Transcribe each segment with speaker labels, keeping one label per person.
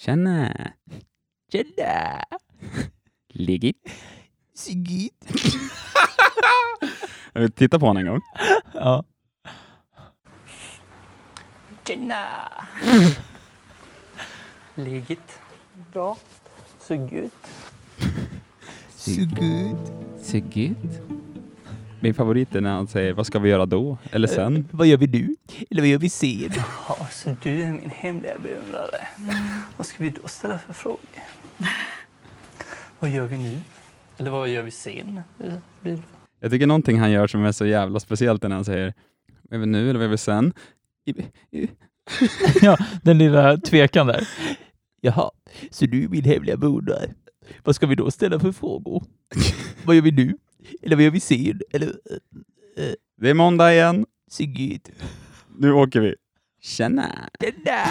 Speaker 1: Tjena! Tjena! Ligit?
Speaker 2: Sigit.
Speaker 1: Jag vill Eh, titta på honom en gång.
Speaker 2: Ja.
Speaker 3: Tjena! Läget? Bra. Så gött.
Speaker 2: Sigit.
Speaker 1: Så gud. Min favorit är när han säger vad ska vi göra då? Eller sen?
Speaker 2: Vad gör vi nu? Eller vad gör vi sen?
Speaker 3: Ja, så du är min hemliga beundrare. Vad ska vi då ställa för frågor? Vad gör vi nu? Eller vad gör vi sen? Eller blir det-
Speaker 1: Jag tycker någonting han gör som är så jävla speciellt är när han säger vad gör vi nu eller vad gör vi sen? I- i-
Speaker 2: Den lilla tvekan där. Jaha, så du är min hemliga beundrare. Vad ska vi då ställa för frågor? vad gör vi nu? Eller vad gör vi sen? Eller... eh,
Speaker 1: Det är måndag igen.
Speaker 2: Sigit.
Speaker 1: Nu åker vi. Tjena!
Speaker 2: Den där!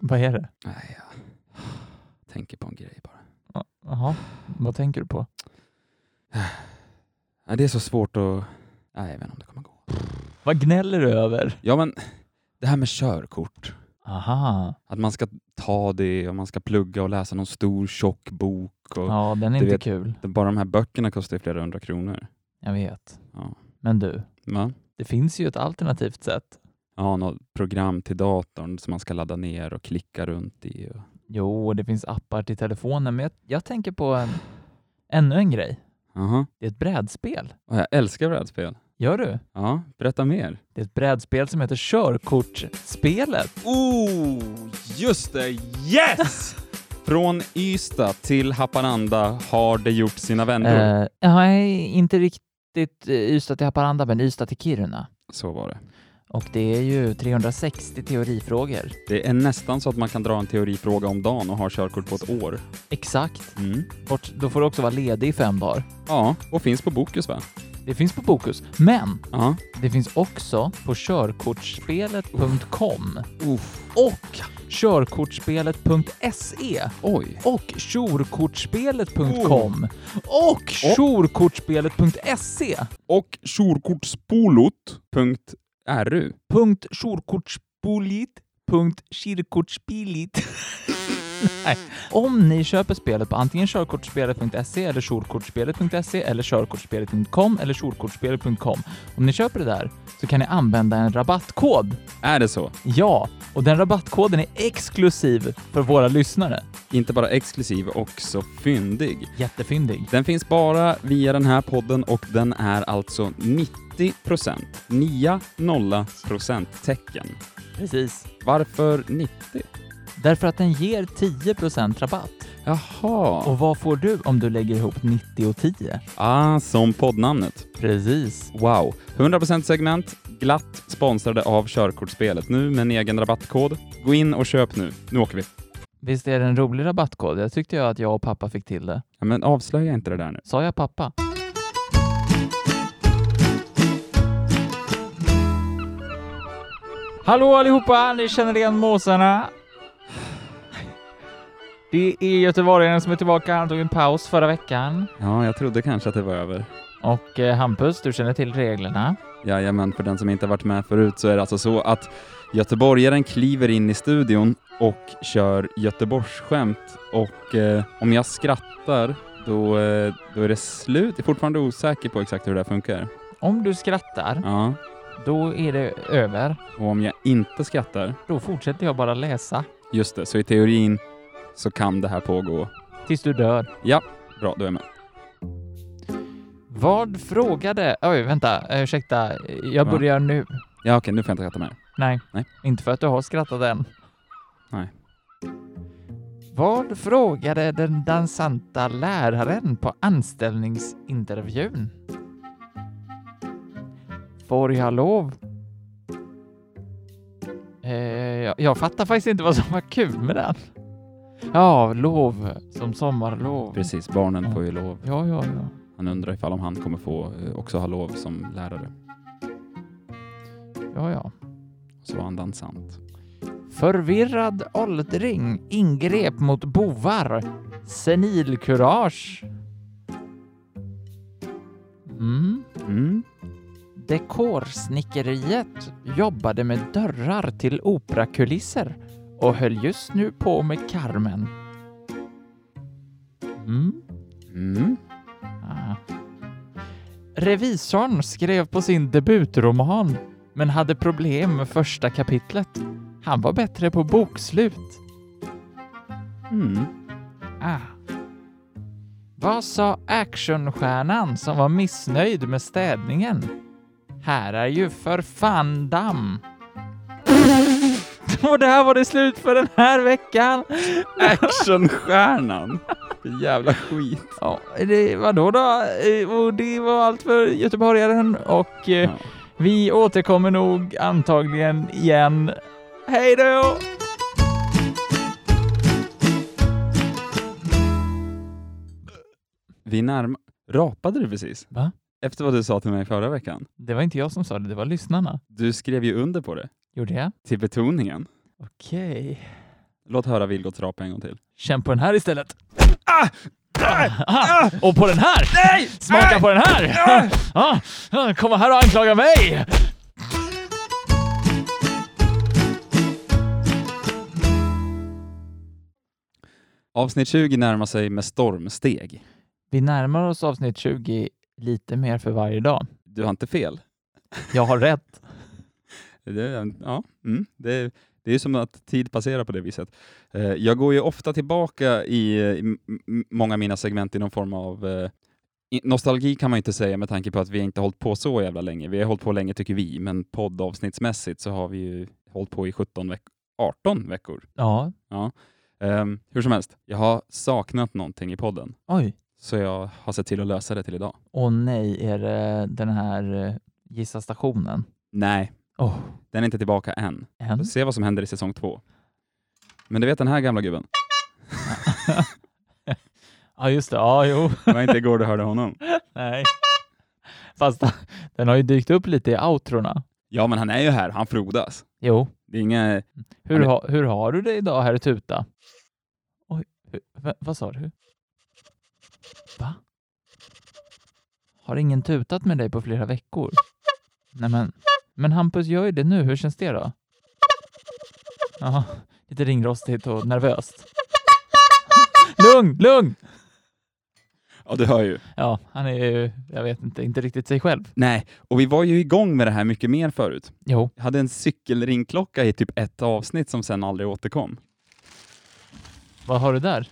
Speaker 2: Vad är det?
Speaker 1: Nej, jag tänker på en grej bara.
Speaker 2: Jaha, vad tänker du på?
Speaker 1: Nej, det är så svårt att... Nej, jag vet inte om det kommer gå.
Speaker 2: Vad gnäller du över?
Speaker 1: Ja, men det här med körkort.
Speaker 2: Aha,
Speaker 1: Att man ska ta det och man ska plugga och läsa någon stor tjock bok. Och
Speaker 2: ja den är
Speaker 1: du
Speaker 2: inte
Speaker 1: vet-
Speaker 2: kul.
Speaker 1: det- Bara de här böckerna kostar ju flera hundra kronor.
Speaker 2: Jag vet.
Speaker 1: Ja.
Speaker 2: Men du,
Speaker 1: Va?
Speaker 2: det finns ju ett alternativt sätt.
Speaker 1: Ja, något program till datorn som man ska ladda ner och klicka runt i. Och...
Speaker 2: Jo, det finns appar till telefonen, men jag, jag tänker på en, ännu en grej.
Speaker 1: Aha.
Speaker 2: Det är ett brädspel.
Speaker 1: Och jag älskar brädspel.
Speaker 2: Gör du?
Speaker 1: Ja, berätta mer.
Speaker 2: Det är ett brädspel som heter Körkortsspelet.
Speaker 1: Oh, just det! Yes! Från Ystad till Haparanda har det gjort sina vänner.
Speaker 2: Eh, nej, inte riktigt eh, Ystad till Haparanda, men Ystad till Kiruna.
Speaker 1: Så var det.
Speaker 2: Och det är ju 360 teorifrågor.
Speaker 1: Det är nästan så att man kan dra en teorifråga om dagen och ha körkort på ett år.
Speaker 2: Exakt.
Speaker 1: Mm.
Speaker 2: Bort, då får du också vara ledig i fem dagar.
Speaker 1: Ja, och finns på Bokus va?
Speaker 2: Det finns på Bokus, men
Speaker 1: Ja.
Speaker 2: det finns också på körkortsspelet.com
Speaker 1: Uff.
Speaker 2: och körkortsspelet.se
Speaker 1: Oj.
Speaker 2: E. och tjorkortsspelet.com Oh. och tjorkortsspelet.se
Speaker 1: Och körkortspolot.ru.
Speaker 2: punkt Körkortsspolit punkt Körkortsspelit. Nej. Om ni köper spelet på antingen körkortsspelet.se eller körkortsspelet.se eller körkortsspelet.com eller körkortsspelet.com. Om ni köper det där så kan ni använda en rabattkod.
Speaker 1: Är det så?
Speaker 2: Ja, och den rabattkoden är exklusiv för våra lyssnare.
Speaker 1: Inte bara exklusiv, också fyndig.
Speaker 2: Jättefyndig.
Speaker 1: Den finns bara via den här podden och den är alltså 90%. 9-0% tecken.
Speaker 2: Precis.
Speaker 1: Varför 90?
Speaker 2: Därför att den ger 10% rabatt.
Speaker 1: Jaha.
Speaker 2: Och vad får du om du lägger ihop 90 och 10?
Speaker 1: Ah, som poddnamnet.
Speaker 2: Precis.
Speaker 1: Wow. 100% segment, glatt sponsrade av körkortsspelet. Nu med en egen rabattkod. Gå in och köp nu. Nu åker vi.
Speaker 2: Visst är det en rolig rabattkod? Jag tyckte jag att jag och pappa fick till det.
Speaker 1: Ja, men avslöja inte det där nu.
Speaker 2: Sa jag pappa? Hallå allihopa! Ni känner igen måsarna? Det är göteborgaren som är tillbaka. Han tog en paus förra veckan.
Speaker 1: Ja, jag trodde kanske att det var över.
Speaker 2: Och eh, Hampus, du känner till reglerna.
Speaker 1: Jajamän, för den som inte har varit med förut så är det alltså så att göteborgaren kliver in i studion och kör göteborgsskämt och eh, om jag skrattar då, eh, då är det slut. Jag är fortfarande osäker på exakt hur det här funkar.
Speaker 2: Om du skrattar,
Speaker 1: Ja.
Speaker 2: då är det över.
Speaker 1: Och om jag inte skrattar,
Speaker 2: Då fortsätter jag bara läsa.
Speaker 1: just det, så i teorin så kan det här pågå.
Speaker 2: Tills du dör.
Speaker 1: Bra, då är jag med.
Speaker 2: Vad frågade... Oj, vänta. eh, Ursäkta. Jag
Speaker 1: Va?
Speaker 2: börjar nu.
Speaker 1: Ja, okej, nu får jag inte skratta mer.
Speaker 2: Nej,
Speaker 1: Nej.
Speaker 2: inte för att du har skrattat än.
Speaker 1: Nej.
Speaker 2: Vad frågade den dansanta läraren på anställningsintervjun? Får jag lov? Eh, jag, jag fattar faktiskt inte vad som var kul med den. Ja, lov som sommarlov.
Speaker 1: Precis, barnen får ju lov.
Speaker 2: Ja, ja, ja.
Speaker 1: Han undrar ifall om han kommer få eh, också ha lov som lärare.
Speaker 2: ja, ja.
Speaker 1: Så var han dansant.
Speaker 2: Förvirrad åldring ingrep mot bovar. Senilkurage. Mm.
Speaker 1: Mm.
Speaker 2: Dekorsnickeriet jobbade med dörrar till operakulisser och höll just nu på med Carmen. Mm.
Speaker 1: Mm.
Speaker 2: Ah. Revisorn skrev på sin debutroman men hade problem med första kapitlet. Han var bättre på bokslut.
Speaker 1: Mm.
Speaker 2: Ah. Vad sa actionstjärnan som var missnöjd med städningen? Här är ju för fan damm. Och där var det slut för den här veckan.
Speaker 1: Actionstjärnan! Det jävla skit.
Speaker 2: Ja, det var då då. Eh, Och det var allt för göteborgaren och eh,
Speaker 1: Ja.
Speaker 2: vi återkommer nog antagligen igen. Hej då!
Speaker 1: Vi närmar... Rapade du precis?
Speaker 2: Va?
Speaker 1: Efter vad du sa till mig förra veckan.
Speaker 2: Det var inte jag som sa det, det var lyssnarna.
Speaker 1: Du skrev ju under på det.
Speaker 2: Gjorde jag?
Speaker 1: Till betoningen.
Speaker 2: Okej.
Speaker 1: Låt höra Vilgots rapa en gång till.
Speaker 2: Känn på den här istället. Ah! Och på den här! Nej! Smaka på den här! Ah! Ah! Komma här och anklaga mig!
Speaker 1: Avsnitt 20 närmar sig med stormsteg.
Speaker 2: Vi närmar oss avsnitt 20 lite mer för varje dag.
Speaker 1: Du har inte fel.
Speaker 2: Jag har rätt.
Speaker 1: Det, ja, mm, det, det är ju som att tid passerar på det viset. Eh, Jag går ju ofta tillbaka i, eh, i m- m- många av mina segment i någon form av eh, i- Nostalgi kan man ju inte säga med tanke på att vi inte har hållit på så jävla länge. Vi har hållit på länge tycker vi, men poddavsnittsmässigt så har vi ju hållit på i 17 veck 18 veckor.
Speaker 2: Ja.
Speaker 1: Ehm, hur som helst, jag har saknat någonting i podden,
Speaker 2: Oj.
Speaker 1: så jag har sett till att lösa det till idag.
Speaker 2: Åh nej, är det den här eh, Gissa stationen?
Speaker 1: Nej,
Speaker 2: Åh,
Speaker 1: den är inte tillbaka än.
Speaker 2: en?
Speaker 1: Får se vad som händer i säsong två. Men du vet den här gamla gubben?
Speaker 2: Ja, just det. Ja, jo.
Speaker 1: Det var inte igår du hörde honom.
Speaker 2: Nej. Fast den har ju dykt upp lite i outrona.
Speaker 1: Ja, men han är ju här. Han frodas.
Speaker 2: Jo.
Speaker 1: Det är inga... Ja,
Speaker 2: Hur,
Speaker 1: men-
Speaker 2: ha, hur har du det idag, herr Tuta? Oj, hur, va, vad sa du? Va? Har ingen tutat med dig på flera veckor? Nej men, men Hampus gör ju det nu. Hur känns det då? Jaha, lite ringrostigt och nervöst. Lugn, lugn!
Speaker 1: Ja, du hör ju.
Speaker 2: Ja, han är ju, jag vet inte, inte riktigt sig själv.
Speaker 1: Nej, och vi var ju igång med det här mycket mer förut.
Speaker 2: Jo,
Speaker 1: Jag hade en cykelringklocka i typ ett avsnitt som sen aldrig återkom.
Speaker 2: vad har du där?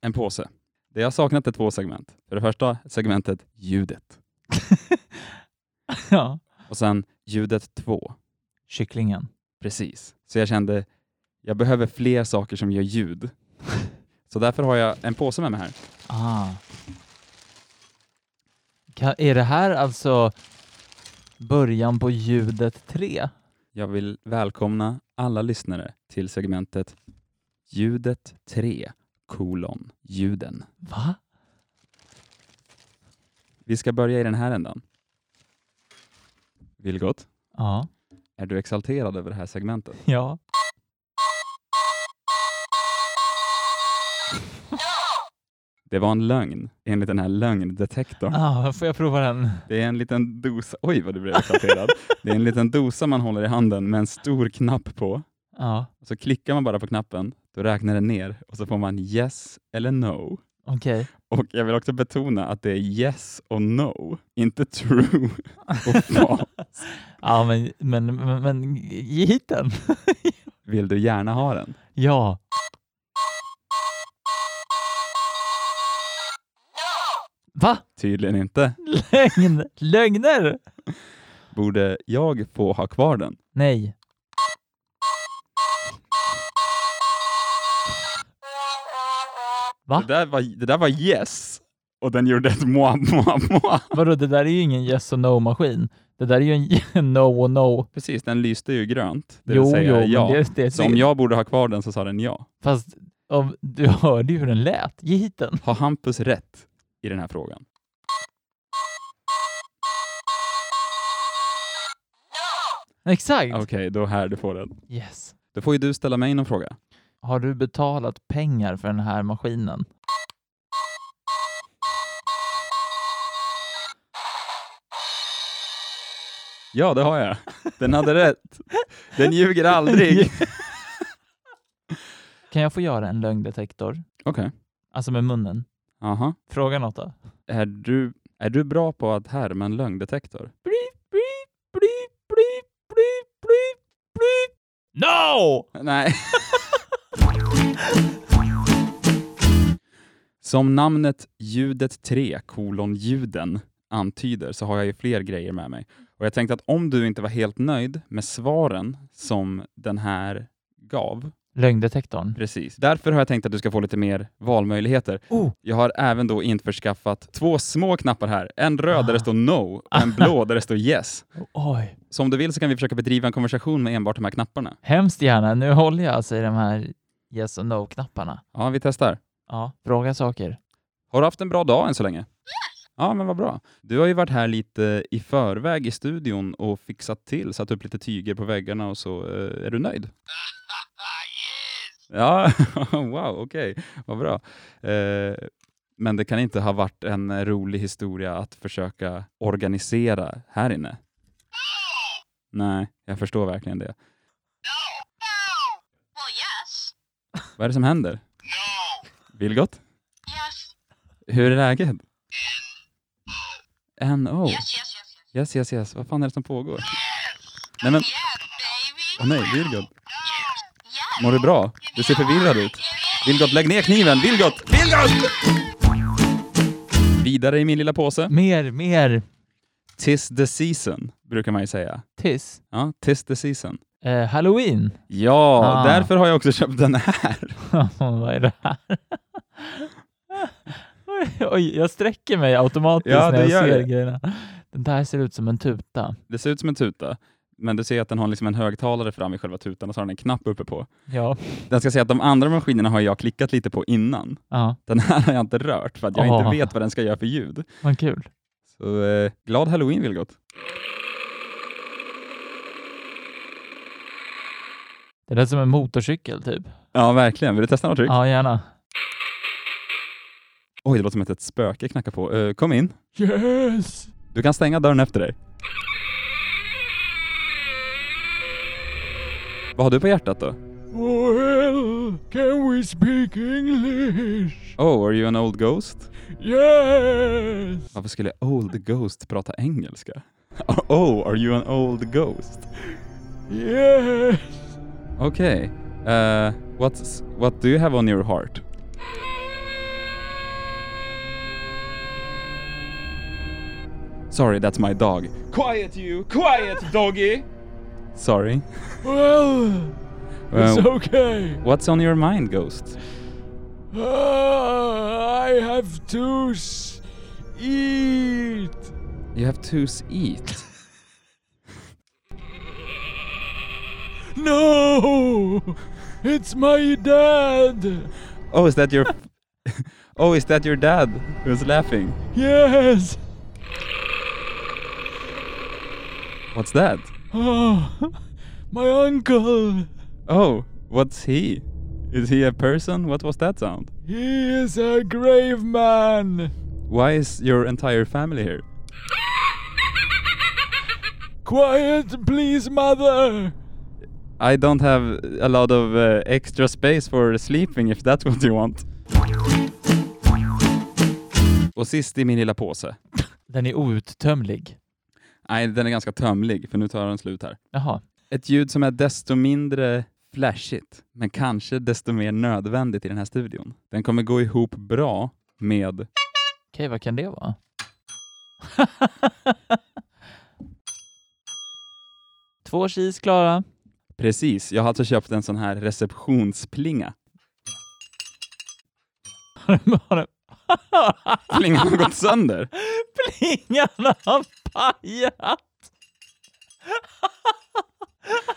Speaker 1: En påse. Det jag saknat är två segment. För det första segmentet ljudet
Speaker 2: Ja,
Speaker 1: och sen ljudet två.
Speaker 2: kycklingen.
Speaker 1: Precis. Så jag kände, jag behöver fler saker som gör ljud. Så därför har jag en påse med mig här.
Speaker 2: Ah. Ka- är det här alltså början på ljudet 3?
Speaker 1: Jag vill välkomna alla lyssnare till segmentet Ljudet 3, kolon, ljuden.
Speaker 2: Va?
Speaker 1: Vi ska börja i den här ändan. Vilgot,
Speaker 2: Ja.
Speaker 1: är du exalterad över det här segmentet?
Speaker 2: Ja.
Speaker 1: Det var en lögn, enligt den här lögndetektorn.
Speaker 2: Ah, får jag prova den?
Speaker 1: Det är en liten dosa, oj vad du blev exalterad. Det är en liten dosa man håller i handen med en stor knapp på.
Speaker 2: Ja,
Speaker 1: Och så klickar man bara på knappen, då räknar den ner och så får man yes eller no.
Speaker 2: okej.
Speaker 1: Och jag vill också betona att det är yes och no, inte true och false.
Speaker 2: Ja, men, men, men, men ge hit den.
Speaker 1: Vill du gärna ha den?
Speaker 2: Ja. Va?
Speaker 1: Tydligen inte.
Speaker 2: Lögn? Lögner?
Speaker 1: Borde jag få ha kvar den?
Speaker 2: Nej. Va?
Speaker 1: Det där var, det där var yes och den gjorde ett moi, moi, moi.
Speaker 2: Vadå, det där är ju ingen yes och no-maskin. Det där är ju en no och no.
Speaker 1: Precis, den lyste ju grönt. Det
Speaker 2: jo,
Speaker 1: vill säga
Speaker 2: jo, men
Speaker 1: ja.
Speaker 2: det, det är
Speaker 1: Så om
Speaker 2: fel.
Speaker 1: jag borde ha kvar den så sa den ja.
Speaker 2: Fast om, du hörde ju hur den lät. Ge hit den.
Speaker 1: Har Hampus rätt i den här frågan?
Speaker 2: Exakt.
Speaker 1: Okej, då här, du får den.
Speaker 2: Yes.
Speaker 1: Då får ju du ställa mig någon fråga.
Speaker 2: Har du betalat pengar för den här maskinen?
Speaker 1: Ja, det har jag. Den hade rätt. Den ljuger aldrig. Okej.
Speaker 2: Kan jag få göra en lögndetektor? Alltså med munnen.
Speaker 1: Aha.
Speaker 2: Fråga något då.
Speaker 1: Är du, är du bra på att härma en lögndetektor?
Speaker 2: Blip, blip, blip, blip, blip, blip, blip. No!
Speaker 1: Nej. Som namnet ljudet 3 kolon ljuden antyder så har jag ju fler grejer med mig. Och jag tänkte att om du inte var helt nöjd med svaren som den här gav,
Speaker 2: Lögndetektorn.
Speaker 1: precis. Därför har jag tänkt att du ska få lite mer valmöjligheter.
Speaker 2: Oh.
Speaker 1: Jag har även då införskaffat två små knappar här. En röd där
Speaker 2: Ah.
Speaker 1: det står no och en blå där det står yes.
Speaker 2: Oj.
Speaker 1: Så om du vill så kan vi försöka bedriva en konversation med enbart de här knapparna.
Speaker 2: Hemskt gärna. Nu håller jag alltså i de här yes och no-knapparna.
Speaker 1: Ja, vi testar.
Speaker 2: Ja, fråga saker.
Speaker 1: Har du haft en bra dag än så länge? Ja, men vad bra. Du har ju varit här lite i förväg i studion och fixat till, satt upp lite tyger på väggarna och så. eh, Är du nöjd? Ja, wow, okej, vad bra. Eh, Men det kan inte ha varit en rolig historia att försöka organisera här inne? Nej, jag förstår verkligen det.
Speaker 4: No. Well, yes.
Speaker 1: Vad är det som händer? Vilgot?
Speaker 4: Yes.
Speaker 1: Hur är läget? NO?
Speaker 4: Yes, yes, yes, yes.
Speaker 1: Yes, yes, yes. Vad fan är det som pågår? Nej men,
Speaker 4: Yes, baby.
Speaker 1: åh nej, Vilgot.
Speaker 4: Yes. Yes.
Speaker 1: Mår du bra? Du ser förvirrad ut. Vilgot, lägg ner kniven! Vilgot! Vilgot! Vidare i min lilla påse.
Speaker 2: Mer, mer.
Speaker 1: Tis the season, brukar man ju säga.
Speaker 2: Tis.
Speaker 1: Ja, tis the season.
Speaker 2: Eh, Halloween.
Speaker 1: Ja,
Speaker 2: Ah.
Speaker 1: därför har jag också köpt den här.
Speaker 2: Vad är det här? Oj, Oj, jag sträcker mig automatiskt
Speaker 1: Ja,
Speaker 2: när
Speaker 1: du
Speaker 2: jag
Speaker 1: gör
Speaker 2: ser
Speaker 1: det.
Speaker 2: grejerna. Den där ser ut som en tuta.
Speaker 1: Det ser ut som en tuta, men du ser att den har liksom en högtalare fram i själva tutan och så har den en knapp uppe på.
Speaker 2: Ja.
Speaker 1: Den ska säga att de andra maskinerna har jag klickat lite på innan.
Speaker 2: ja.
Speaker 1: Den här har jag inte rört för att jag
Speaker 2: Ah.
Speaker 1: inte vet vad den ska göra för ljud.
Speaker 2: Vad kul.
Speaker 1: Så eh, glad halloween Vilgot!
Speaker 2: Det lät som en motorcykel typ.
Speaker 1: Ja, verkligen. Vill du testa något tryck?
Speaker 2: Ja, gärna.
Speaker 1: Oj, det låter som att ett spöke knackar på. Eh, kom in.
Speaker 2: Yes!
Speaker 1: Du kan stänga dörren efter dig. Vad har du på hjärtat då?
Speaker 2: Well, can we speak English?
Speaker 1: Oh, are you an old ghost?
Speaker 2: Yes!
Speaker 1: Varför skulle old ghost prata engelska? Oh, are you an old ghost?
Speaker 2: Yes!
Speaker 1: Okej. Eh, what's, what do you have on your heart? Sorry, that's my dog. Quiet you! Quiet doggy! Sorry.
Speaker 2: Well,
Speaker 1: Eh,
Speaker 2: okay.
Speaker 1: What's on your mind, Ghost?
Speaker 2: Ah, I have to s- eat.
Speaker 1: You have to s- eat.
Speaker 2: No, it's my dad.
Speaker 1: Oh, is that your... oh, is that your dad who's laughing?
Speaker 2: Yes.
Speaker 1: What's that?
Speaker 2: Ah, my uncle.
Speaker 1: Oh, what's he? Is he a person? What was that sound?
Speaker 2: He is a grave man.
Speaker 1: Why is your entire family here?
Speaker 2: Quiet, please, mother.
Speaker 1: I don't have a lot of uh, extra space for sleeping if that's what you want. Och sist i min lilla påse.
Speaker 2: Den är outtömlig.
Speaker 1: Nej, den är ganska tömlig, för nu tar den slut här.
Speaker 2: Jaha.
Speaker 1: Ett ljud som är desto mindre flashigt, men kanske desto mer nödvändigt i den här studion. Den kommer gå ihop bra med...
Speaker 2: Okej, vad kan det vara? Två cheese klara.
Speaker 1: Precis, jag har alltså köpt en sån här receptionsplinga.
Speaker 2: Har den-
Speaker 1: Plingan har gått sönder!
Speaker 2: Plingarna har pajat!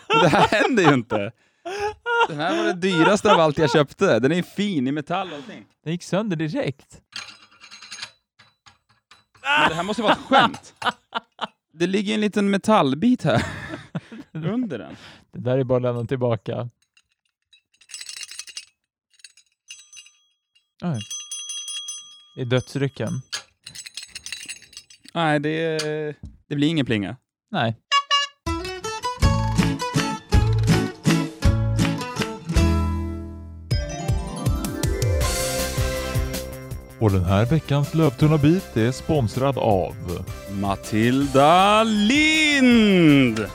Speaker 1: Men Det här händer ju inte! Den här var det dyraste av allt jag köpte. Den är fin i metall och allting.
Speaker 2: Den gick sönder direkt.
Speaker 1: Men det här måste vara ett skämt. Det ligger en liten metallbit här. Under den.
Speaker 2: Det där är bara att lämna tillbaka. Oj. I dödsrycken?
Speaker 1: Nej, det, det blir ingen plinga.
Speaker 2: Nej.
Speaker 5: Och den här veckans Lövtunna bit är sponsrad av
Speaker 1: Matilda Lind!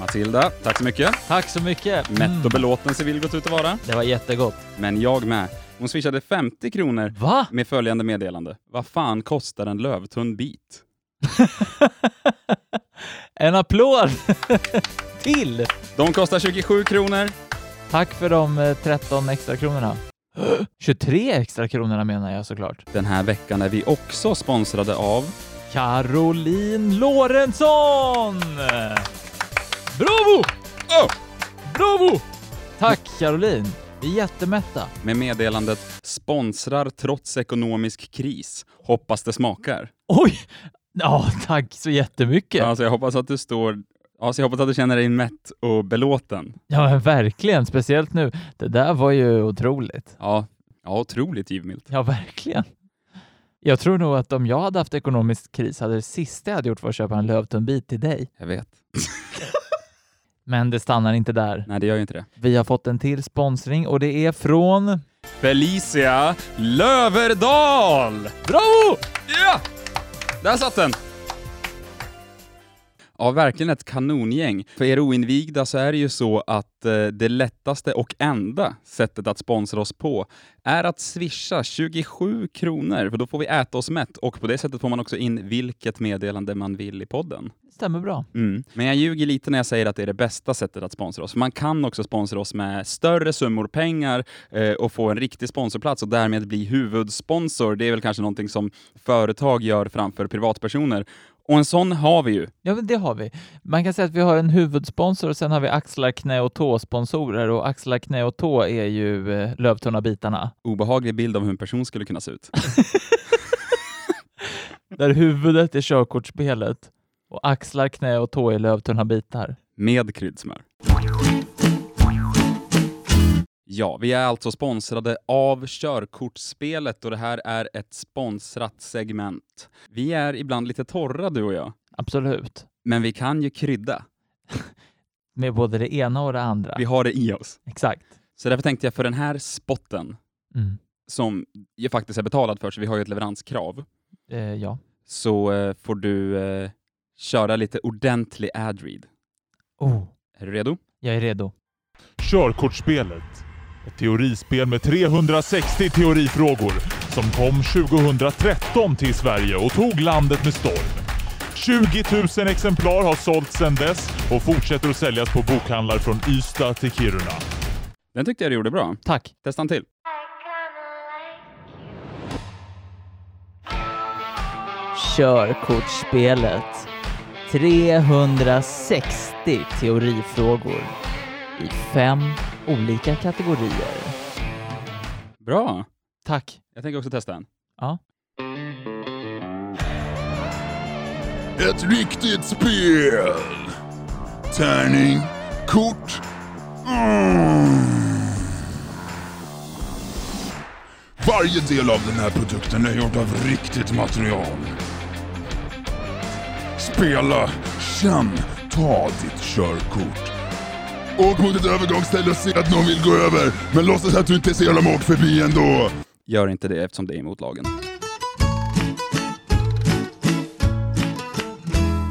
Speaker 1: Matilda, tack så mycket.
Speaker 2: Tack så mycket.
Speaker 1: Mätt och belåten ser Vilgot ut att vara,
Speaker 2: Det var jättegott.
Speaker 1: men jag med. Hon swishade 50 kronor
Speaker 2: Va?
Speaker 1: med följande meddelande. Vad fan kostar en lövtunn bit?
Speaker 2: En applåd till!
Speaker 1: De kostar 27 kronor.
Speaker 2: Tack för de eh, 13 extra kronorna. 23 extra kronorna menar jag såklart.
Speaker 1: Den här veckan är vi också sponsrade av
Speaker 2: Caroline Lorentzon! Bravo!
Speaker 1: Oh!
Speaker 2: Bravo! Tack Caroline. Vi är jättemätta.
Speaker 1: med meddelandet “Sponsrar trots ekonomisk kris. Hoppas det smakar”.
Speaker 2: Oj! Ja, tack så jättemycket.
Speaker 1: Alltså jag hoppas att du står... Alltså jag hoppas att du känner dig mätt och belåten.
Speaker 2: Ja, men verkligen. Speciellt nu. Det där var ju otroligt.
Speaker 1: Ja, ja otroligt givmilt.
Speaker 2: Ja, verkligen. Jag tror nog att om jag hade haft ekonomisk kris hade det sista jag hade gjort varit att köpa en lövtunnbit till dig.
Speaker 1: Jag vet.
Speaker 2: Men det stannar inte där.
Speaker 1: Nej, det gör ju inte det.
Speaker 2: Vi har fått en till sponsring och det är från...
Speaker 1: Felicia Löverdal! Bravo! Ja! Där satt den! Ja, verkligen ett kanongäng. För er oinvigda så är det ju så att eh, det lättaste och enda sättet att sponsra oss på är att swisha 27 kronor, för då får vi äta oss mätt och på det sättet får man också in vilket meddelande man vill i podden.
Speaker 2: Stämmer bra.
Speaker 1: Mm. Men jag ljuger lite när jag säger att det är det bästa sättet att sponsra oss. För man kan också sponsra oss med större summor pengar eh, och få en riktig sponsorplats och därmed bli huvudsponsor. Det är väl kanske någonting som företag gör framför privatpersoner. Och en sån har vi ju.
Speaker 2: Ja, men det har vi. Man kan säga att vi har en huvudsponsor och sen har vi axlar, knä och tå-sponsorer och axlar, knä och tå är ju eh, Lövtunna-bitarna.
Speaker 1: Obehaglig bild av hur en person skulle kunna se ut.
Speaker 2: Där huvudet är körkortsspelet och axlar, knä och tå är Lövtunna-bitar.
Speaker 1: Med kryddsmör. Ja, vi är alltså sponsrade av Körkortsspelet och det här är ett sponsrat segment. Vi är ibland lite torra du och jag,
Speaker 2: Absolut.
Speaker 1: men vi kan ju krydda.
Speaker 2: Med både det ena och det andra.
Speaker 1: Vi har det i oss.
Speaker 2: Exakt.
Speaker 1: Så därför tänkte jag för den här spotten,
Speaker 2: Mm.
Speaker 1: som ju faktiskt är betalad för, så vi har ju ett leveranskrav,
Speaker 2: Eh, ja.
Speaker 1: så eh, får du eh, köra lite ordentlig ad-read.
Speaker 2: Oh,
Speaker 1: Är du redo?
Speaker 2: jag är redo.
Speaker 5: Körkortsspelet. Ett teorispel med 360 teorifrågor som kom 2013 till Sverige och tog landet med storm. 20 000 exemplar har sålts sedan dess och fortsätter att säljas på bokhandlar från Ystad till Kiruna.
Speaker 1: Den tyckte jag du gjorde bra.
Speaker 2: Tack.
Speaker 1: Testa en till.
Speaker 2: Körkortsspelet. 360 teorifrågor i fem olika kategorier.
Speaker 1: Bra!
Speaker 2: Tack.
Speaker 1: Jag tänker också testa en.
Speaker 2: Ja.
Speaker 6: Ett riktigt spel. Tärning. Kort. Mm. Varje del av den här produkten är gjord av riktigt material. Spela, känn, ta ditt körkort. Åk mot ett övergångsställe och se att någon vill gå över, men låtsas att du inte ser dem åk förbi ändå.
Speaker 1: Gör inte det eftersom det är emot lagen.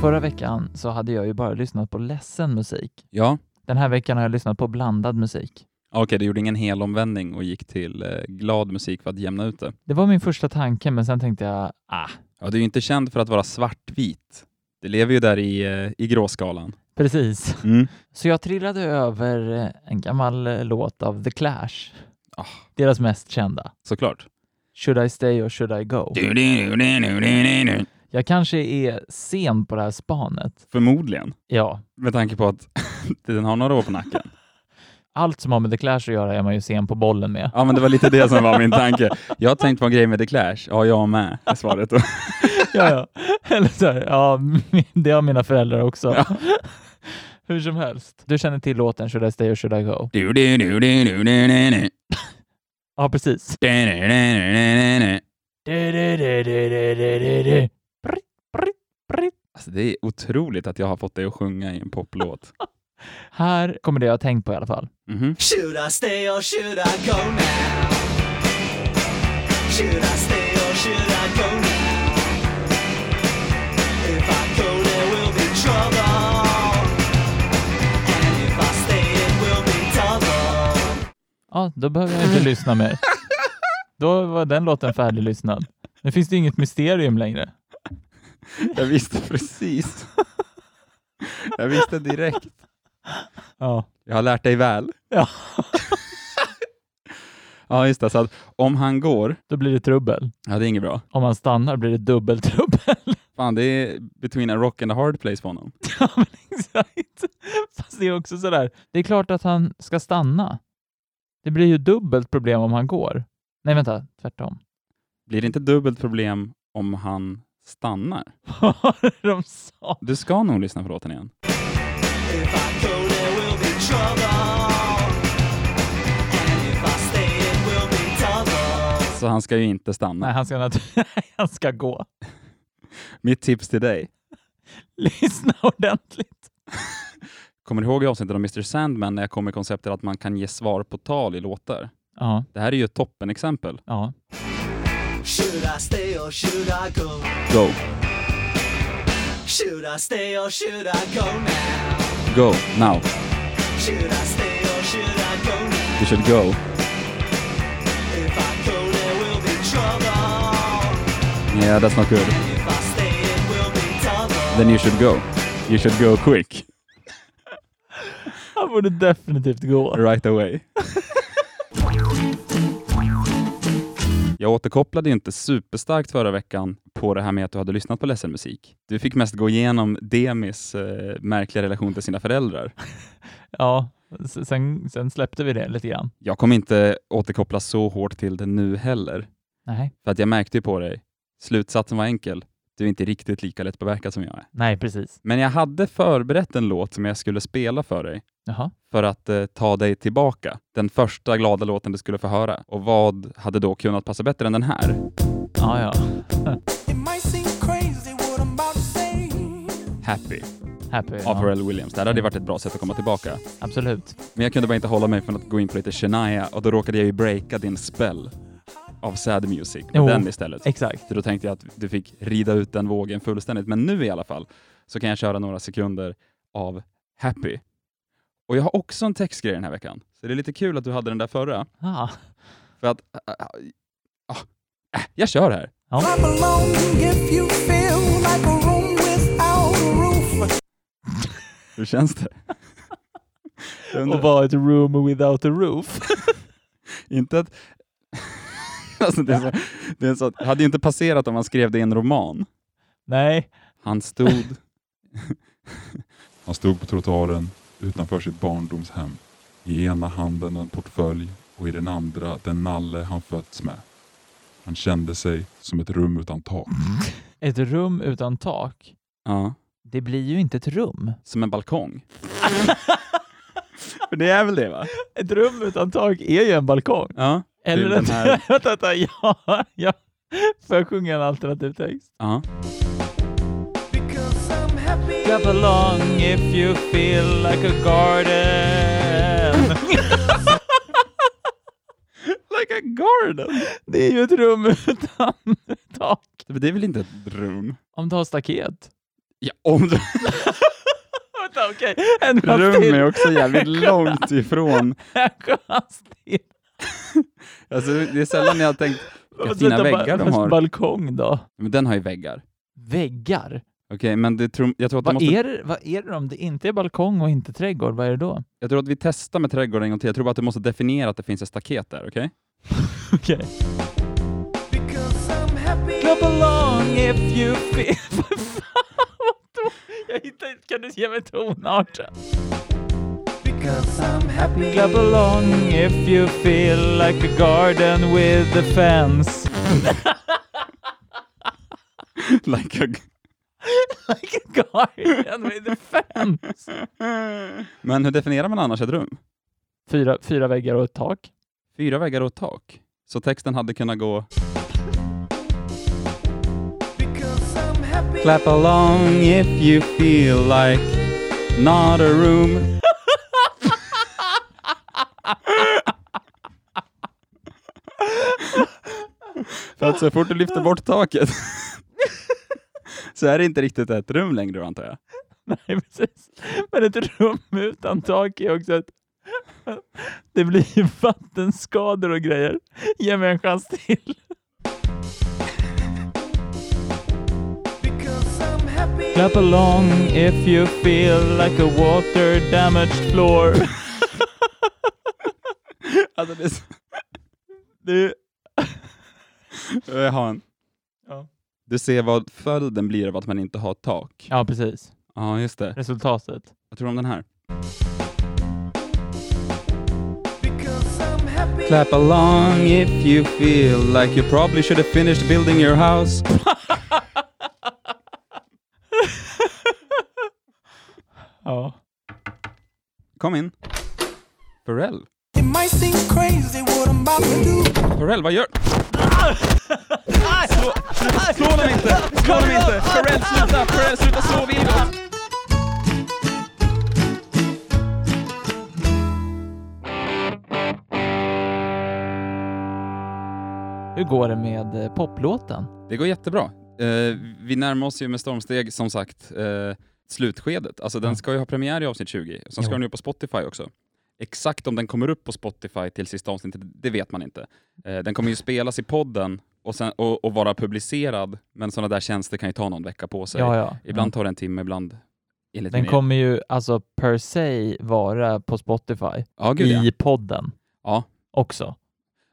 Speaker 2: Förra veckan så hade jag ju bara lyssnat på ledsen musik.
Speaker 1: Ja.
Speaker 2: Den här veckan har jag lyssnat på blandad musik.
Speaker 1: Okej, du gjorde ingen hel omvändning och gick till eh, glad musik för att jämna ut det.
Speaker 2: Det var min första tanke, men sen tänkte jag, ah,
Speaker 1: Ja, du är ju inte känd för att vara svartvit. Det lever ju där i, eh, i gråskalan.
Speaker 2: precis.
Speaker 1: Mm.
Speaker 2: Så jag trillade över eh, en gammal eh, låt av The Clash.
Speaker 1: Ah.
Speaker 2: Deras mest kända.
Speaker 1: Såklart.
Speaker 2: Should I stay or should I go? Jag kanske är sen på det här spanet.
Speaker 1: Förmodligen.
Speaker 2: Ja,
Speaker 1: Med tanke på att den har några år på nacken.
Speaker 2: allt som har med The Clash att göra är man ju sen på bollen med.
Speaker 1: Ja, men det var lite det som var min tanke. Jag har tänkt på en grej med The Clash. Ja, jag med, är svaret. då.
Speaker 2: ja, ja. Eller så här, ja, det har mina föräldrar också. Hur som helst. Du känner till låten Should I stay or should I go? Ja, precis. Britt, britt, britt.
Speaker 1: Alltså, det är otroligt att jag har fått dig att sjunga i en poplåt.
Speaker 2: Här kommer det jag har tänkt på i alla fall.
Speaker 7: Should I
Speaker 1: Mhm.
Speaker 7: stay or should I go now? Should I stay or should I go now? If I go, there will be trouble. And if I stay, it will be double.
Speaker 2: Ja, då behöver jag inte lyssna mer. Då var den låten färdiglyssnad. Nu finns det inget mysterium längre.
Speaker 1: Jag visste precis. Jag visste direkt.
Speaker 2: Ja.
Speaker 1: Jag har lärt dig väl.
Speaker 2: ja.
Speaker 1: Ja, just det. Så att om han går,
Speaker 2: Då blir det trubbel.
Speaker 1: ja det är inget bra.
Speaker 2: Om man stannar blir det dubbeltrubbel.
Speaker 1: Fan, det är between a rock and a hard place på honom.
Speaker 2: Ja, men exakt. Fast det är också sådär. Det är klart att han ska stanna. Det blir ju dubbelt problem om han går. Nej, vänta. Tvärtom.
Speaker 1: Blir det inte dubbelt problem om han stannar?
Speaker 2: Vad var det de sa?
Speaker 1: Du ska nog lyssna på låten igen.
Speaker 7: If I go, there will be trouble. And if I stay, it will be double.
Speaker 1: Så han ska ju inte stanna.
Speaker 2: Nej, han ska, nat- han ska gå.
Speaker 1: Mitt tips till dig.
Speaker 2: Lyssna ordentligt.
Speaker 1: Kommer du ihåg i avsnittet av Mr Sandman när jag kom med konceptet att man kan ge svar på tal i låtar?
Speaker 2: Ja,
Speaker 1: Det här är ju ett toppenexempel.
Speaker 2: ja.
Speaker 7: Should I stay or should I go?
Speaker 1: Go,
Speaker 7: Should I stay or should I go now?
Speaker 1: go, now.
Speaker 7: Should I stay or should I go now?
Speaker 1: You should go.
Speaker 7: If I go, there will be trouble.
Speaker 1: Yeah, that's not good.
Speaker 7: If I stay, it will be double.
Speaker 1: Then you should go. You should go quick.
Speaker 2: Han borde definitivt gå.
Speaker 1: Right away. Jag återkopplade ju inte superstarkt förra veckan på det här med att du hade lyssnat på ledsen musik. Du fick mest gå igenom Demis eh, märkliga relation till sina föräldrar.
Speaker 2: Ja, s- sen, sen släppte vi det lite grann.
Speaker 1: Jag kommer inte återkoppla så hårt till det nu heller,
Speaker 2: Nej,
Speaker 1: för att jag märkte ju på dig. Slutsatsen var enkel. Du är inte riktigt lika lättpåverkad som jag är.
Speaker 2: nej precis.
Speaker 1: Men jag hade förberett en låt som jag skulle spela för dig
Speaker 2: Jaha.
Speaker 1: för att eh, ta dig tillbaka. Den första glada låten du skulle få höra. Och vad hade då kunnat passa bättre än den här?
Speaker 2: Ja, ja.
Speaker 8: It might seem crazy what I'm about to say.
Speaker 1: Happy
Speaker 2: Happy.
Speaker 1: av
Speaker 2: Ja,
Speaker 1: Pharrell Williams. Det här hade ju varit ett bra sätt att komma tillbaka.
Speaker 2: absolut.
Speaker 1: Men jag kunde bara inte hålla mig från att gå in på lite Shania och då råkade jag ju breaka din spell av sad music med
Speaker 2: Jo,
Speaker 1: den istället.
Speaker 2: Exakt.
Speaker 1: Så då tänkte jag att du fick rida ut den vågen fullständigt. Men nu i alla fall så kan jag köra några sekunder av Happy. Och jag har också en textgrej den här veckan. Så det är lite kul att du hade den där förra.
Speaker 2: Ah.
Speaker 1: För att... ah, ah, ah, äh, jag kör här.
Speaker 8: I'm alone if you feel like a room without a roof.
Speaker 1: Hur känns det? Jag undrar.
Speaker 2: Och vara ett room without a roof.
Speaker 1: Inte att... alltså det, är så, det är så, det hade ju inte passerat om man skrev det i en roman.
Speaker 2: nej.
Speaker 1: Han stod...
Speaker 9: Han stod på trottoaren utanför sitt barndomshem. I ena handen en portfölj och i den andra den nalle han fötts med. Han kände sig som ett rum utan tak.
Speaker 2: Ett rum utan tak.
Speaker 1: ja,
Speaker 2: Det blir ju inte ett rum.
Speaker 1: som en balkong. För det är väl det va?
Speaker 2: Ett rum utan tak är ju en balkong.
Speaker 1: Ja. det är
Speaker 2: Eller
Speaker 1: den
Speaker 2: ett...
Speaker 1: här-
Speaker 2: Vänta, vänta. Ja, ja. Får jag sjunga en alternativ text?
Speaker 1: ja.
Speaker 8: Because I'm happy.
Speaker 2: Clap along if you feel like a garden.
Speaker 1: Like a garden!
Speaker 2: Det är ju ett rum utan tak.
Speaker 1: Det är väl inte ett rum?
Speaker 2: Om du har staket.
Speaker 1: Ja, om du...
Speaker 2: Vänta, okej. En chans
Speaker 1: Rum
Speaker 2: till.
Speaker 1: är också jävligt långt ifrån.
Speaker 2: En chans till.
Speaker 1: Alltså, det är sällan jag har tänkt, vilka fina
Speaker 2: Vänta, ba-
Speaker 1: väggar de
Speaker 2: fast
Speaker 1: har.
Speaker 2: balkong då?
Speaker 1: Men den har ju väggar.
Speaker 2: Väggar?
Speaker 1: Okej, men det tror, jag tror att de
Speaker 2: Vad,
Speaker 1: måste
Speaker 2: är det, vad är det om det inte är balkong och inte trädgård? Vad är det då?
Speaker 1: Jag tror att vi testar med trädgården en gång till. Jag tror bara att du måste definiera att det finns ett staket där, okej?
Speaker 2: Okej. Clap along if you feel... Vad fan, vadå? Jag hittar inte... Kan du ge mig tonarten? Clap along if you feel like a garden with a fence.
Speaker 1: Like a...
Speaker 2: Like a garden with a fence.
Speaker 1: Men hur definierar man annars ett rum?
Speaker 2: Fyra, fyra väggar och ett tak.
Speaker 1: Fyra väggar och ett tak? Så texten hade kunnat gå... Clap along if you feel like not a room För att så fort du lyfter bort taket så är det inte riktigt ett rum längre då, antar jag.
Speaker 2: Nej, precis. Men ett rum utan tak är också ett... Det blir ju vattenskador och grejer. Ge mig en chans till. Clap along if you feel like a water damaged floor.
Speaker 1: Alltså det är så...
Speaker 2: Du,
Speaker 1: Jag har Eh, en.
Speaker 2: Ja.
Speaker 1: Du ser vad följden blir av att man inte har tak.
Speaker 2: ja, precis.
Speaker 1: Ja, just det.
Speaker 2: Resultatet.
Speaker 1: Vad tror du om den här? Clap along if you feel like you probably should have finished building your house.
Speaker 2: Ja.
Speaker 1: Kom in. Pharrell.
Speaker 8: It might seem crazy what I'm about to do.
Speaker 1: Pharrell, vad gör... Slå, slå dem inte! Slå dem inte! Pharrell, sluta! Pharrell, sluta slå virret!
Speaker 2: Hur går det med eh, poplåten?
Speaker 1: Det går jättebra. Eh, vi närmar oss ju med stormsteg, som sagt, eh, slutskedet. Alltså den ska ju ha premiär i avsnitt 20. Sen ska
Speaker 2: Jo.
Speaker 1: den ju upp på Spotify också. Exakt om den kommer upp på Spotify till sista avsnittet, det vet man inte. Eh, den kommer ju spelas i podden och, sen, och, och vara publicerad, men sådana där tjänster kan ju ta någon vecka på sig.
Speaker 2: Ja, ja.
Speaker 1: Ibland tar det en timme, ibland enligt
Speaker 2: Den
Speaker 1: min-
Speaker 2: kommer ju alltså per se vara på Spotify
Speaker 1: ja, gud, ja.
Speaker 2: i podden
Speaker 1: Ja.
Speaker 2: också.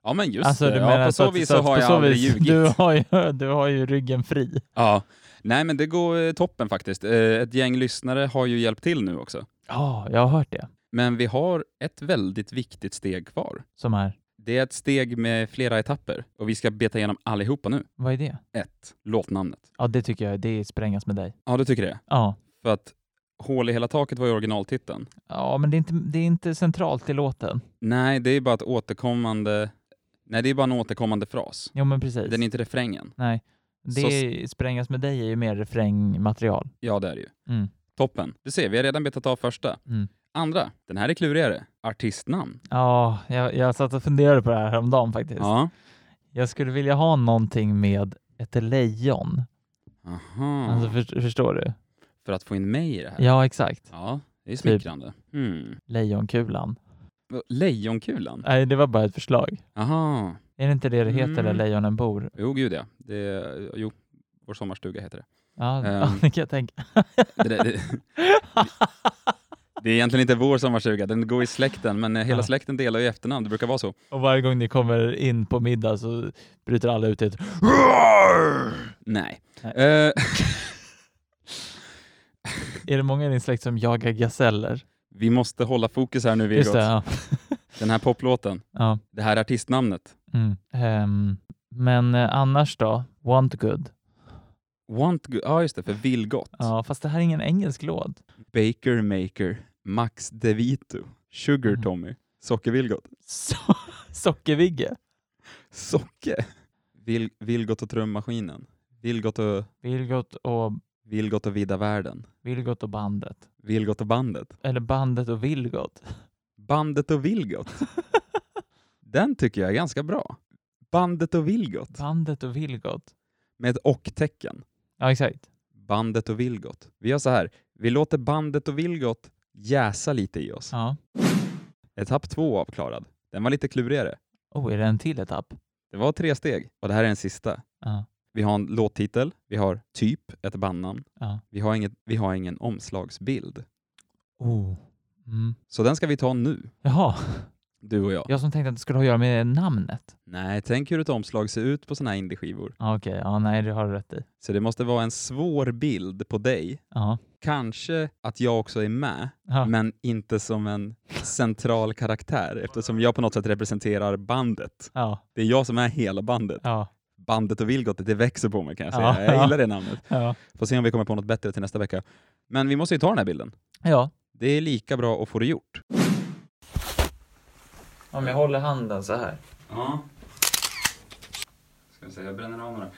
Speaker 1: ja, men just
Speaker 2: alltså,
Speaker 1: det. Ja, på så
Speaker 2: att-
Speaker 1: vis
Speaker 2: att
Speaker 1: så
Speaker 2: på
Speaker 1: har jag
Speaker 2: så
Speaker 1: aldrig
Speaker 2: vis-
Speaker 1: ljugit.
Speaker 2: Du har, ju, du har ju ryggen fri.
Speaker 1: Ja. Nej, men det går eh, toppen faktiskt. Eh, Ett gäng lyssnare har ju hjälpt till nu också.
Speaker 2: Ja, jag har hört det.
Speaker 1: Men vi har ett väldigt viktigt steg kvar.
Speaker 2: Som är,
Speaker 1: Det är ett steg med flera etapper och vi ska beta igenom allihopa nu.
Speaker 2: vad är det?
Speaker 1: 1. Låtnamnet.
Speaker 2: Ja, det tycker jag, det är sprängas med dig.
Speaker 1: Ja, du tycker det?
Speaker 2: Ja,
Speaker 1: För att Hål i hela taket var ju originaltiteln.
Speaker 2: ja men det är, inte, det är inte centralt i låten.
Speaker 1: Nej, det är bara ett återkommande... Nej, det är bara en återkommande fras.
Speaker 2: Jo, men precis.
Speaker 1: Den är inte refrängen.
Speaker 2: Nej,
Speaker 1: Så-
Speaker 2: det är, sprängas med dig är ju mer refrängmaterial.
Speaker 1: Ja, det är det ju.
Speaker 2: Mm.
Speaker 1: Toppen. Du ser, vi har redan betat av första.
Speaker 2: Mm.
Speaker 1: Andra. Den här är klurigare. Artistnamn.
Speaker 2: Ja, jag, jag satt och funderade på det här häromdagen faktiskt.
Speaker 1: Ja.
Speaker 2: Jag skulle vilja ha någonting med ett lejon.
Speaker 1: Aha.
Speaker 2: Alltså, för, förstår du?
Speaker 1: För att få in mig i det här.
Speaker 2: Ja, Typ. exakt.
Speaker 1: Ja, det är smickrande. Hmm.
Speaker 2: Lejonkulan.
Speaker 1: Lejonkulan?
Speaker 2: Nej, det var bara ett förslag.
Speaker 1: Aha.
Speaker 2: Är det inte det det heter,
Speaker 1: Mm.
Speaker 2: där lejonen bor?
Speaker 1: Jo, gud ja. Det, jo, Vår sommarstuga heter det.
Speaker 2: Ja,
Speaker 1: Ehm.
Speaker 2: det kan jag tänka.
Speaker 1: Det, där- det, det är egentligen inte vår sommarstuga, den går i släkten, men eh, hela
Speaker 2: Ja.
Speaker 1: släkten delar ju efternamn, det brukar vara så.
Speaker 2: Och varje gång ni kommer in på middag så bryter alla ut i ett
Speaker 1: Nej.
Speaker 2: Nej.
Speaker 1: Eh,
Speaker 2: Är det många i din släkt som jagar gaseller?
Speaker 1: vi måste hålla fokus här nu,
Speaker 2: Just
Speaker 1: Viggo.
Speaker 2: det, ja.
Speaker 1: Den här poplåten,
Speaker 2: ja.
Speaker 1: det här artistnamnet.
Speaker 2: Mm. Ehm, men eh, annars då? Want good?
Speaker 1: Want Go- ja just det, för vill gott.
Speaker 2: Ja, fast det här är ingen engelsk låt.
Speaker 1: Baker Maker, Max DeVito, Sugar
Speaker 2: Mm.
Speaker 1: Tommy, Sockervillgott.
Speaker 2: So Sockervigge?
Speaker 1: Socke? Vill, Vilgot och trummaskinen. Vilgot och,
Speaker 2: Vilgot och,
Speaker 1: Vilgot och vida världen.
Speaker 2: Vilgot och bandet.
Speaker 1: Vilgot och bandet.
Speaker 2: Eller bandet och Vilgot.
Speaker 1: Bandet och Vilgot. Den tycker jag är ganska bra. Bandet och Vilgot.
Speaker 2: Bandet och Vilgot.
Speaker 1: Med ett och-tecken.
Speaker 2: Ja, exakt.
Speaker 1: Bandet och Vilgot. Vi gör så här. Vi låter bandet och Vilgot jäsa lite i oss.
Speaker 2: Ja.
Speaker 1: Etapp två avklarad. Den var lite klurigare.
Speaker 2: Oh, är det en till etapp?
Speaker 1: Det var tre steg och det här är den sista.
Speaker 2: Ja.
Speaker 1: Vi har en låttitel, vi har typ ett bandnamn,
Speaker 2: Ja.
Speaker 1: vi, har inget, vi har ingen omslagsbild.
Speaker 2: Oh. Mm.
Speaker 1: Så den ska vi ta nu,
Speaker 2: Jaha,
Speaker 1: du och jag.
Speaker 2: jag som tänkte att det skulle ha att göra med namnet.
Speaker 1: Nej, tänk hur ett omslag ser ut på såna här indieskivor.
Speaker 2: Ja, Okej, ja, nej, det har du rätt i.
Speaker 1: Så det måste vara en svår bild på dig.
Speaker 2: Ja.
Speaker 1: Kanske att jag också är med,
Speaker 2: Ja.
Speaker 1: men inte som en central karaktär eftersom jag på något sätt representerar bandet.
Speaker 2: Ja,
Speaker 1: Det är jag som är hela bandet.
Speaker 2: ja,
Speaker 1: Bandet och Vilgot, det växer på mig kan jag säga.
Speaker 2: Ja,
Speaker 1: jag
Speaker 2: ja.
Speaker 1: gillar det namnet.
Speaker 2: ja.
Speaker 1: Får se om vi kommer på något bättre till nästa vecka. Men vi måste ju ta den här bilden.
Speaker 2: Ja.
Speaker 1: Det är lika bra att få det gjort.
Speaker 2: Om jag håller handen så här.
Speaker 1: Ja. vi se, jag bränner av några.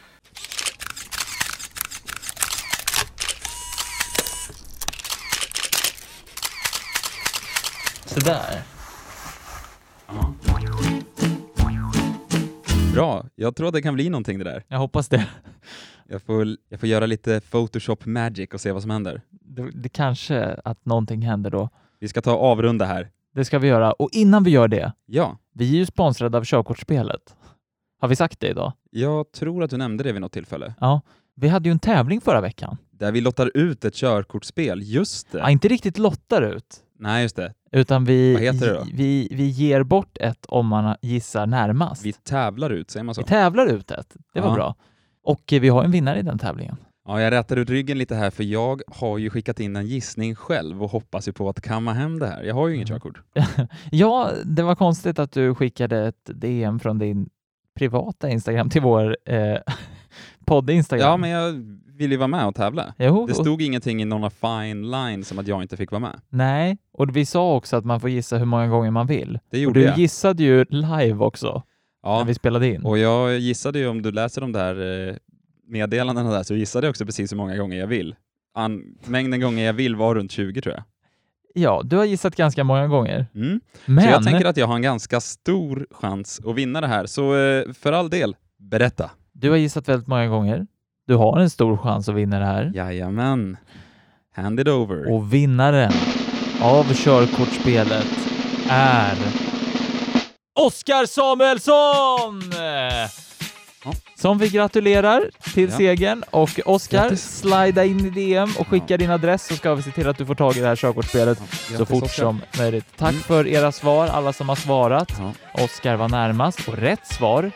Speaker 2: Sådär.
Speaker 1: Bra, jag tror att det kan bli någonting det där.
Speaker 2: Jag hoppas det.
Speaker 1: Jag får, jag får göra lite photoshop magic och se vad som händer.
Speaker 2: det. Det kanske att någonting händer då.
Speaker 1: Vi ska ta och avrunda här.
Speaker 2: Det ska vi göra. Och innan vi gör det,
Speaker 1: Ja,
Speaker 2: vi är ju sponsrade av Körkortsspelet. Har vi sagt det idag?
Speaker 1: jag tror att du nämnde det vid något tillfälle.
Speaker 2: Ja. Vi hade ju en tävling förra veckan.
Speaker 1: Där vi lottar ut ett körkortsspel. Just det.
Speaker 2: Ja, inte riktigt lottar ut,
Speaker 1: Nej, just det.
Speaker 2: utan vi,
Speaker 1: Vad heter det då?
Speaker 2: vi, vi ger bort ett om man gissar närmast.
Speaker 1: Vi
Speaker 2: Vi,
Speaker 1: tävlar ut, säger man så?
Speaker 2: tävlar ut ett. Det var
Speaker 1: Ja.
Speaker 2: bra. Och eh, vi har en vinnare i den tävlingen.
Speaker 1: Ja, jag rätar ut ryggen lite här för jag har ju skickat in en gissning själv och hoppas ju på att kamma hem det här. Jag har ju inget
Speaker 2: Mm.
Speaker 1: körkort.
Speaker 2: Ja, det var konstigt att du skickade ett DM från din privata Instagram till vår eh, podd-Instagram.
Speaker 1: Ja, men jag vill ju vara med och tävla.
Speaker 2: Jo,
Speaker 1: Det
Speaker 2: och,
Speaker 1: stod ingenting i några fine lines som att jag inte fick vara med.
Speaker 2: nej, och vi sa också att man får gissa hur många gånger man vill.
Speaker 1: Det
Speaker 2: Och
Speaker 1: gjorde
Speaker 2: du
Speaker 1: jag.
Speaker 2: gissade ju live också, när
Speaker 1: Ja,
Speaker 2: vi spelade in.
Speaker 1: och jag gissade ju om du läser de där eh, meddelandena där så gissade jag också precis hur många gånger jag vill. An- mängden gånger jag vill var runt 20 tror jag.
Speaker 2: Ja, du har gissat ganska många gånger.
Speaker 1: Mm.
Speaker 2: Men
Speaker 1: Så jag tänker att jag har en ganska stor chans att vinna det här. Så eh, för all del, berätta.
Speaker 2: du har gissat väldigt många gånger. Du har en stor chans att vinna det här.
Speaker 1: Jajamän. Hand it over.
Speaker 2: Mm. Och vinnaren av körkortsspelet är Oskar Samuelsson! Som vi gratulerar till
Speaker 1: Ja.
Speaker 2: segern. Och Oskar,
Speaker 1: Grattis.
Speaker 2: slida in i DM och skicka din adress så ska vi se till att du får tag i det här körkortsspelet så
Speaker 1: Grattis,
Speaker 2: fort
Speaker 1: Oskar.
Speaker 2: som möjligt. Tack
Speaker 1: Mm.
Speaker 2: för era svar, alla som har svarat. Oskar var närmast och rätt svar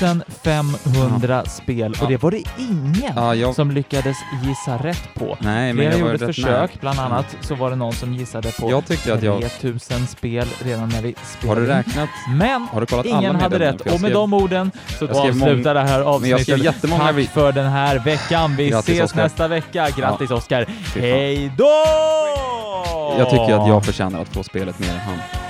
Speaker 2: 2500 spel och
Speaker 1: Ja.
Speaker 2: det var det ingen
Speaker 1: Ja, jag...
Speaker 2: som lyckades gissa rätt på.
Speaker 1: Nej, men
Speaker 2: Flera
Speaker 1: jag var
Speaker 2: gjorde
Speaker 1: rätt
Speaker 2: försök,
Speaker 1: nära. Mm.
Speaker 2: bland annat så var det någon som gissade på
Speaker 1: Jag tyckte att jag...
Speaker 2: 3000 spel redan när vi
Speaker 1: Har
Speaker 2: spelade.
Speaker 1: du
Speaker 2: in.
Speaker 1: räknat?
Speaker 2: Men
Speaker 1: Har du kollat alla
Speaker 2: ingen hade
Speaker 1: meddelanden?
Speaker 2: rätt
Speaker 1: För jag
Speaker 2: och med
Speaker 1: skrev-
Speaker 2: de orden så
Speaker 1: jag skrev
Speaker 2: avslutar det här
Speaker 1: Men jag skrev
Speaker 2: avsnittet.
Speaker 1: jättemånga
Speaker 2: Tack
Speaker 1: vi-
Speaker 2: för den här veckan. Vi
Speaker 1: Grattis,
Speaker 2: ses
Speaker 1: Oskar.
Speaker 2: nästa vecka. Grattis Oskar!
Speaker 1: fan.
Speaker 2: Hej då!
Speaker 1: Jag tycker att jag förtjänar att få spelet mer än han.